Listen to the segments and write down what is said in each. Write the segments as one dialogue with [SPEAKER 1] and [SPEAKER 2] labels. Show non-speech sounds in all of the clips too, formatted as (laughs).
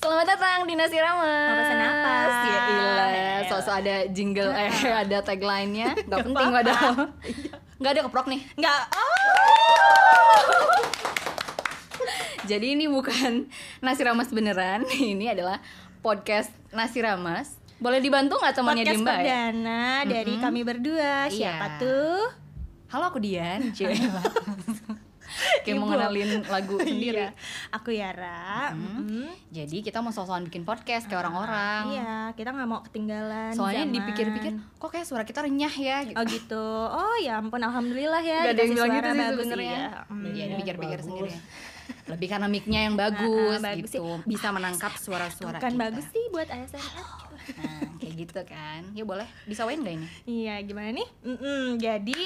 [SPEAKER 1] Selamat datang di Nasi Rames.
[SPEAKER 2] Mau pesen apa?
[SPEAKER 1] Ya
[SPEAKER 2] Iya.
[SPEAKER 1] ilah, sosok ada jingle
[SPEAKER 2] (laughs)
[SPEAKER 1] eh ada tagline-nya. Gak penting
[SPEAKER 2] apa-apa. Iya.
[SPEAKER 1] padahal. Gak ada keprok nih.
[SPEAKER 2] Nggak.
[SPEAKER 1] Jadi ini bukan Nasi Rames beneran. (laughs) Ini adalah podcast Nasi Rames. Boleh dibantu nggak temannya
[SPEAKER 2] podcast
[SPEAKER 1] Dimba? ya?
[SPEAKER 2] perdana dari kami berdua. Siapa
[SPEAKER 1] Iya.
[SPEAKER 2] tuh?
[SPEAKER 1] Halo aku
[SPEAKER 2] (laughs)
[SPEAKER 1] Dian. Cie. Kayak mau
[SPEAKER 2] Ibu.
[SPEAKER 1] ngenalin lagu
[SPEAKER 2] (laughs) Iya.
[SPEAKER 1] sendiri.
[SPEAKER 2] Aku Yara. Mm-mm.
[SPEAKER 1] Jadi kita mau sosokan bikin podcast kayak orang-orang.
[SPEAKER 2] Ah, Iya, kita nggak mau ketinggalan.
[SPEAKER 1] Soalnya
[SPEAKER 2] zaman.
[SPEAKER 1] dipikir-pikir, kok kayak suara kita renyah ya? gitu.
[SPEAKER 2] Oh gitu. Oh ya ampun, alhamdulillah ya.
[SPEAKER 1] Gak ada yang
[SPEAKER 2] dikasih
[SPEAKER 1] bilang
[SPEAKER 2] suara
[SPEAKER 1] gitu sih
[SPEAKER 2] bagus,
[SPEAKER 1] sebenarnya.
[SPEAKER 2] iya. Mm.
[SPEAKER 1] Iya,
[SPEAKER 3] Iya,
[SPEAKER 1] dipikir-pikir
[SPEAKER 3] bagus.
[SPEAKER 1] sendiri. (laughs) Lebih karena mic-nya yang bagus,
[SPEAKER 2] Ah, ah, bagus
[SPEAKER 1] gitu. Bisa menangkap suara-suara
[SPEAKER 2] Bukan
[SPEAKER 1] kita.
[SPEAKER 2] bagus sih buat ASMR.
[SPEAKER 1] Nah, kayak gitu kan. Ya boleh. Disawain gak ini?
[SPEAKER 2] Iya, gimana nih? Mm-mm, Jadi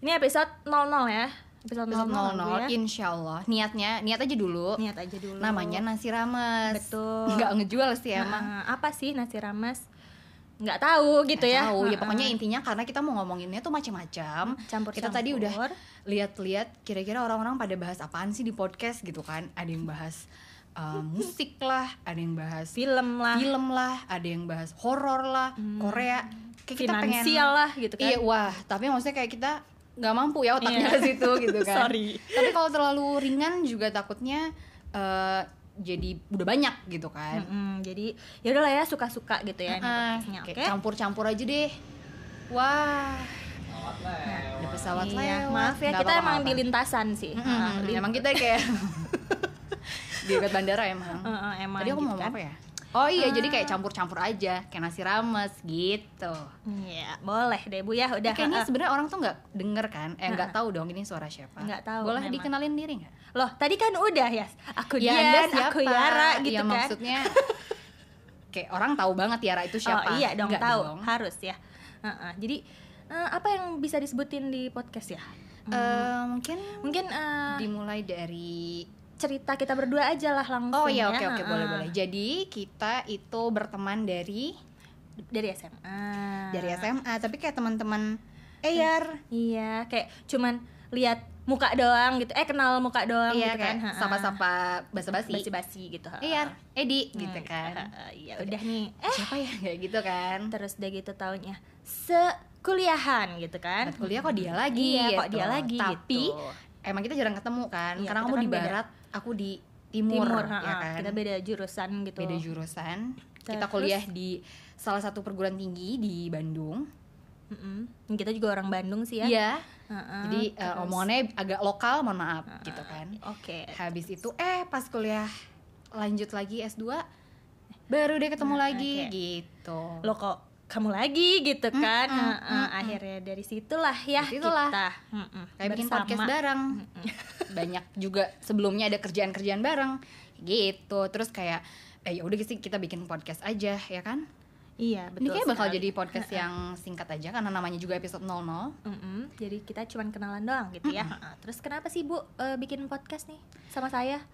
[SPEAKER 2] ini episode 00 ya. Episode 00,
[SPEAKER 1] Nol nol,
[SPEAKER 2] ya.
[SPEAKER 1] insya Allah. Niatnya, niat aja dulu.
[SPEAKER 2] Niat aja dulu.
[SPEAKER 1] Namanya nasi rames.
[SPEAKER 2] Betul.
[SPEAKER 1] Nggak ngejual sih
[SPEAKER 2] Nah,
[SPEAKER 1] emang.
[SPEAKER 2] apa sih nasi rames? Nggak tahu gitu ya.
[SPEAKER 1] Tahu ya
[SPEAKER 2] Heeh.
[SPEAKER 1] pokoknya intinya karena kita mau ngomonginnya tuh macam-macam.
[SPEAKER 2] campur
[SPEAKER 1] Kita tadi udah lihat-lihat kira-kira orang-orang pada bahas apaan sih di podcast gitu kan. Ada yang bahas uh, musik lah, ada yang bahas
[SPEAKER 2] film lah
[SPEAKER 1] film lah, ada yang bahas horor lah, Korea. Kayak kita pengen
[SPEAKER 2] Hmm. finansial lah gitu kan
[SPEAKER 1] Iya, wah, tapi maksudnya kayak kita nggak mampu ya otaknya
[SPEAKER 2] Iya.
[SPEAKER 1] ke situ gitu kan.
[SPEAKER 2] Sorry.
[SPEAKER 1] Tapi kalau terlalu ringan juga takutnya eh, jadi udah banyak gitu kan.
[SPEAKER 2] Mm-mm, jadi ya udahlah ya suka-suka gitu ya ini
[SPEAKER 1] Ah,
[SPEAKER 2] podcastnya,
[SPEAKER 1] kayak
[SPEAKER 2] oke
[SPEAKER 1] campur-campur aja deh. Wah, ada pesawat
[SPEAKER 2] Iya,
[SPEAKER 1] lewat.
[SPEAKER 2] maaf ya
[SPEAKER 1] Nggak
[SPEAKER 2] kita
[SPEAKER 1] apa-apa,
[SPEAKER 2] emang
[SPEAKER 1] nggak
[SPEAKER 2] di
[SPEAKER 1] apa-apa.
[SPEAKER 2] lintasan sih
[SPEAKER 1] Mm-mm,
[SPEAKER 2] Ah, lin-
[SPEAKER 1] emang kita kayak
[SPEAKER 2] (laughs)
[SPEAKER 1] (laughs) di dekat bandara emang.
[SPEAKER 2] Heeh, emang
[SPEAKER 1] Tadi aku
[SPEAKER 2] gitu
[SPEAKER 1] mau ngomong
[SPEAKER 2] kan.
[SPEAKER 1] apa ya? Oh iya, jadi kayak campur-campur aja, kayak nasi rames gitu. eh.
[SPEAKER 2] Iya, boleh deh Bu ya udah.
[SPEAKER 1] Kayaknya
[SPEAKER 2] heeh.
[SPEAKER 1] sebenarnya orang tuh nggak denger kan, eh nggak tahu dong ini suara siapa.
[SPEAKER 2] Nggak tahu
[SPEAKER 1] Boleh
[SPEAKER 2] memang.
[SPEAKER 1] dikenalin diri nggak?
[SPEAKER 2] Loh, tadi kan udah ya. Aku
[SPEAKER 1] Ya,
[SPEAKER 2] Dian,
[SPEAKER 1] Anda
[SPEAKER 2] aku Yara gitu
[SPEAKER 1] ya,
[SPEAKER 2] kan.
[SPEAKER 1] maksudnya (laughs) kayak orang tahu banget Yara itu siapa.
[SPEAKER 2] Oh iya dong
[SPEAKER 1] Nggak Eh,
[SPEAKER 2] tahu, harus ya. Heeh, Jadi eh, apa yang bisa disebutin di podcast ya?
[SPEAKER 1] Eh, mungkin
[SPEAKER 2] Mungkin eh,
[SPEAKER 1] dimulai dari
[SPEAKER 2] cerita kita berdua aja lah langsung
[SPEAKER 1] Oh
[SPEAKER 2] ya.
[SPEAKER 1] iya, oke oke
[SPEAKER 2] heeh.
[SPEAKER 1] boleh boleh. Jadi kita itu berteman dari
[SPEAKER 2] Dari SMA.
[SPEAKER 1] dari SMA, tapi kayak teman-teman Eh Yar,
[SPEAKER 2] Iya, kayak cuman lihat muka doang gitu. Eh kenal muka doang
[SPEAKER 1] iya
[SPEAKER 2] gitu kan.
[SPEAKER 1] kayak
[SPEAKER 2] Ha-ha.
[SPEAKER 1] sapa-sapa basa-basi.
[SPEAKER 2] Basi-basi gitu. ha.
[SPEAKER 1] Eh Yar, Edi
[SPEAKER 2] Hmm,
[SPEAKER 1] gitu kan.
[SPEAKER 2] ha-ha. Iya, udah nih. Eh,
[SPEAKER 1] Siapa ya kayak gitu kan?
[SPEAKER 2] terus udah gitu tahunnya sekuliahan gitu kan.
[SPEAKER 1] Buat kuliah kok dia lagi
[SPEAKER 2] Iya,
[SPEAKER 1] gitu.
[SPEAKER 2] kok dia lagi
[SPEAKER 1] tapi
[SPEAKER 2] gitu.
[SPEAKER 1] emang kita jarang ketemu kan
[SPEAKER 2] Iya,
[SPEAKER 1] karena
[SPEAKER 2] kita
[SPEAKER 1] kamu
[SPEAKER 2] kan
[SPEAKER 1] di
[SPEAKER 2] beda.
[SPEAKER 1] barat aku di timur,
[SPEAKER 2] timur,
[SPEAKER 1] ya
[SPEAKER 2] ha-ha.
[SPEAKER 1] kan
[SPEAKER 2] Kita beda jurusan gitu.
[SPEAKER 1] beda jurusan kita
[SPEAKER 2] Terus?
[SPEAKER 1] kuliah di salah satu perguruan tinggi di Bandung
[SPEAKER 2] Mm-mm. Kita juga orang Bandung sih ya.
[SPEAKER 1] iya
[SPEAKER 2] Ha-ha.
[SPEAKER 1] jadi eh,
[SPEAKER 2] Terus, Iya.
[SPEAKER 1] omongannya agak lokal mohon maaf
[SPEAKER 2] ha-ha.
[SPEAKER 1] gitu kan
[SPEAKER 2] Oke.
[SPEAKER 1] habis itu eh pas kuliah lanjut lagi S2 baru deh ketemu
[SPEAKER 2] Eh. Nah,
[SPEAKER 1] lagi
[SPEAKER 2] oke.
[SPEAKER 1] gitu
[SPEAKER 2] Lo kok kamu lagi gitu
[SPEAKER 1] Mm,
[SPEAKER 2] kan.
[SPEAKER 1] Mm-mm,
[SPEAKER 2] Ha-ha.
[SPEAKER 1] mm-mm.
[SPEAKER 2] Akhirnya dari situlah ya
[SPEAKER 1] Dari situlah.
[SPEAKER 2] kita. Mm-mm.
[SPEAKER 1] kayak bikin
[SPEAKER 2] Bersama.
[SPEAKER 1] podcast bareng
[SPEAKER 2] Mm-mm.
[SPEAKER 1] banyak juga sebelumnya ada kerjaan-kerjaan bareng gitu terus kayak eh ya udah sih kita bikin podcast aja ya kan
[SPEAKER 2] Iya,
[SPEAKER 1] ini
[SPEAKER 2] betul.
[SPEAKER 1] kayak bakal
[SPEAKER 2] sekali.
[SPEAKER 1] jadi podcast ya? yang singkat aja karena namanya juga episode 00
[SPEAKER 2] Mm-mm, jadi kita cuman kenalan doang gitu ya. Heeh, Terus kenapa sih Bu eh, bikin podcast nih sama saya?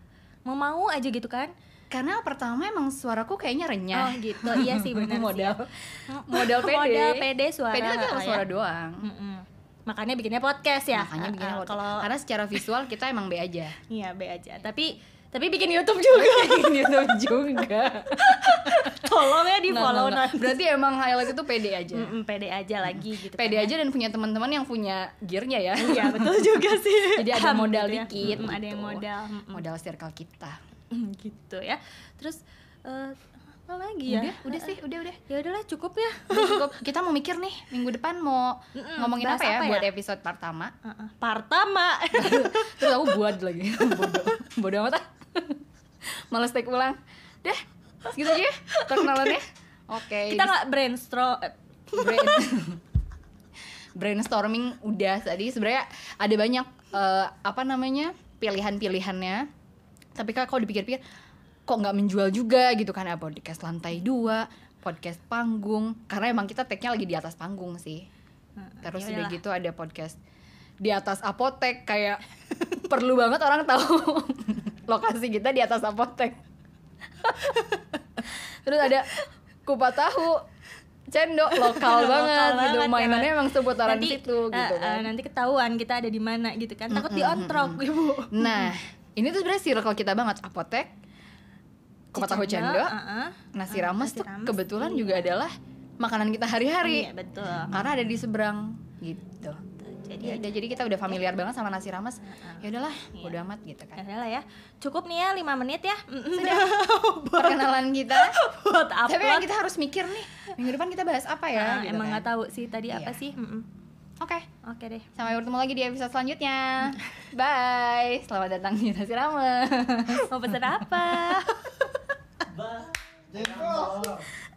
[SPEAKER 2] Mau mau aja gitu kan?
[SPEAKER 1] karena pertama emang suaraku kayaknya
[SPEAKER 2] Oh
[SPEAKER 1] renyah
[SPEAKER 2] gitu. Iya
[SPEAKER 1] (laughs)
[SPEAKER 2] sih benar
[SPEAKER 1] Ya. Modal.
[SPEAKER 2] sih. ya. (laughs)
[SPEAKER 1] Modal pede.
[SPEAKER 2] Modal pede suara.
[SPEAKER 1] Pede tapi
[SPEAKER 2] heeh,
[SPEAKER 1] sama
[SPEAKER 2] ya.
[SPEAKER 1] suara doang
[SPEAKER 2] Mm-mm. Makanya bikinnya podcast ya.
[SPEAKER 1] makanya bikin
[SPEAKER 2] Heeh,
[SPEAKER 1] podcast.
[SPEAKER 2] kalau
[SPEAKER 1] karena secara visual kita emang B
[SPEAKER 2] (laughs)
[SPEAKER 1] aja
[SPEAKER 2] iya B aja. Tapi tapi bikin YouTube Gitu juga. (laughs)
[SPEAKER 1] bikin (laughs) YouTube Gitu juga
[SPEAKER 2] Tolong ya di
[SPEAKER 1] Nggak,
[SPEAKER 2] follow
[SPEAKER 1] nggak, nggak. berarti emang highlight itu pede aja
[SPEAKER 2] pede aja lagi gitu.
[SPEAKER 1] pede
[SPEAKER 2] kan.
[SPEAKER 1] aja dan punya teman-teman yang punya gearnya ya (laughs)
[SPEAKER 2] Iya betul juga sih.
[SPEAKER 1] jadi ada
[SPEAKER 2] Ham
[SPEAKER 1] modal
[SPEAKER 2] gitu ya.
[SPEAKER 1] dikit
[SPEAKER 2] Mm-mm, ada yang
[SPEAKER 1] gitu.
[SPEAKER 2] modal. Mm-mm.
[SPEAKER 1] modal circle kita
[SPEAKER 2] Mm, (laughs) gitu ya terus eh, apa lagi ya
[SPEAKER 1] udah udah sih udah udah
[SPEAKER 2] ya udahlah cukup ya
[SPEAKER 1] Udah (laughs) cukup kita mau mikir nih minggu depan mau
[SPEAKER 2] Mm-mm,
[SPEAKER 1] ngomongin apa
[SPEAKER 2] bahas
[SPEAKER 1] ya,
[SPEAKER 2] apa ya?
[SPEAKER 1] buat episode pertama
[SPEAKER 2] Heeh.
[SPEAKER 1] (laughs)
[SPEAKER 2] pertama
[SPEAKER 1] terus aku buat
[SPEAKER 2] (laughs)
[SPEAKER 1] lagi bodoh bodoh amat ah males take ulang dah segitu
[SPEAKER 2] (laughs)
[SPEAKER 1] aja ya perkenalannya oke
[SPEAKER 2] kita nggak brainstorm eh,
[SPEAKER 1] brain (laughs) brainstorming udah tadi sebenarnya ada banyak eh, apa namanya pilihan-pilihannya tapi kan kalau dipikir-pikir kok nggak menjual juga gitu kan Ah, podcast lantai dua podcast panggung karena emang kita tag-nya lagi di atas panggung sih terus
[SPEAKER 2] ya
[SPEAKER 1] udah
[SPEAKER 2] udahlah.
[SPEAKER 1] gitu ada podcast di atas apotek kayak (laughs) perlu banget orang tahu (laughs) lokasi kita di atas apotek (laughs) terus ada kupat tahu cendok lokal
[SPEAKER 2] Lokal
[SPEAKER 1] banget gitu
[SPEAKER 2] banget,
[SPEAKER 1] mainannya
[SPEAKER 2] ya.
[SPEAKER 1] emang seputaran
[SPEAKER 2] nanti
[SPEAKER 1] situ gitu
[SPEAKER 2] eh, eh,
[SPEAKER 1] kan
[SPEAKER 2] nanti ketahuan kita ada di mana gitu kan takut diontrok ibu
[SPEAKER 1] nah ini tuh sebenarnya circle kita banget apotek Kok tahu jando,
[SPEAKER 2] uh-uh.
[SPEAKER 1] nasi
[SPEAKER 2] Uh,
[SPEAKER 1] rames tuh
[SPEAKER 2] rames,
[SPEAKER 1] kebetulan
[SPEAKER 2] iya.
[SPEAKER 1] juga adalah makanan kita
[SPEAKER 2] Iya,
[SPEAKER 1] hari-hari
[SPEAKER 2] betul.
[SPEAKER 1] karena ada di seberang gitu.
[SPEAKER 2] Jadi
[SPEAKER 1] Ya, udah, jadi kita udah familiar banget sama nasi rames. Ya udahlah, udah amat gitu
[SPEAKER 2] ya (laughs)
[SPEAKER 1] kan.
[SPEAKER 2] udah lah ya. Cukup nih ya 5 menit ya. buat
[SPEAKER 1] Perkenalan kita.
[SPEAKER 2] (laughs) buat (laughs) upload.
[SPEAKER 1] Tapi kan kita harus mikir nih, minggu depan kita bahas apa ya?
[SPEAKER 2] Ah,
[SPEAKER 1] gitu
[SPEAKER 2] emang
[SPEAKER 1] kan.
[SPEAKER 2] nggak tahu sih tadi apa
[SPEAKER 1] Iya.
[SPEAKER 2] sih. Mm-mm.
[SPEAKER 1] Oke,
[SPEAKER 2] Oke deh.
[SPEAKER 1] sampai bertemu lagi di episode
[SPEAKER 2] (laughs)
[SPEAKER 1] selanjutnya. Bye. Selamat datang di Nasi (laughs) Rames. (laughs)
[SPEAKER 2] Mau pesen apa?
[SPEAKER 3] Jengkol.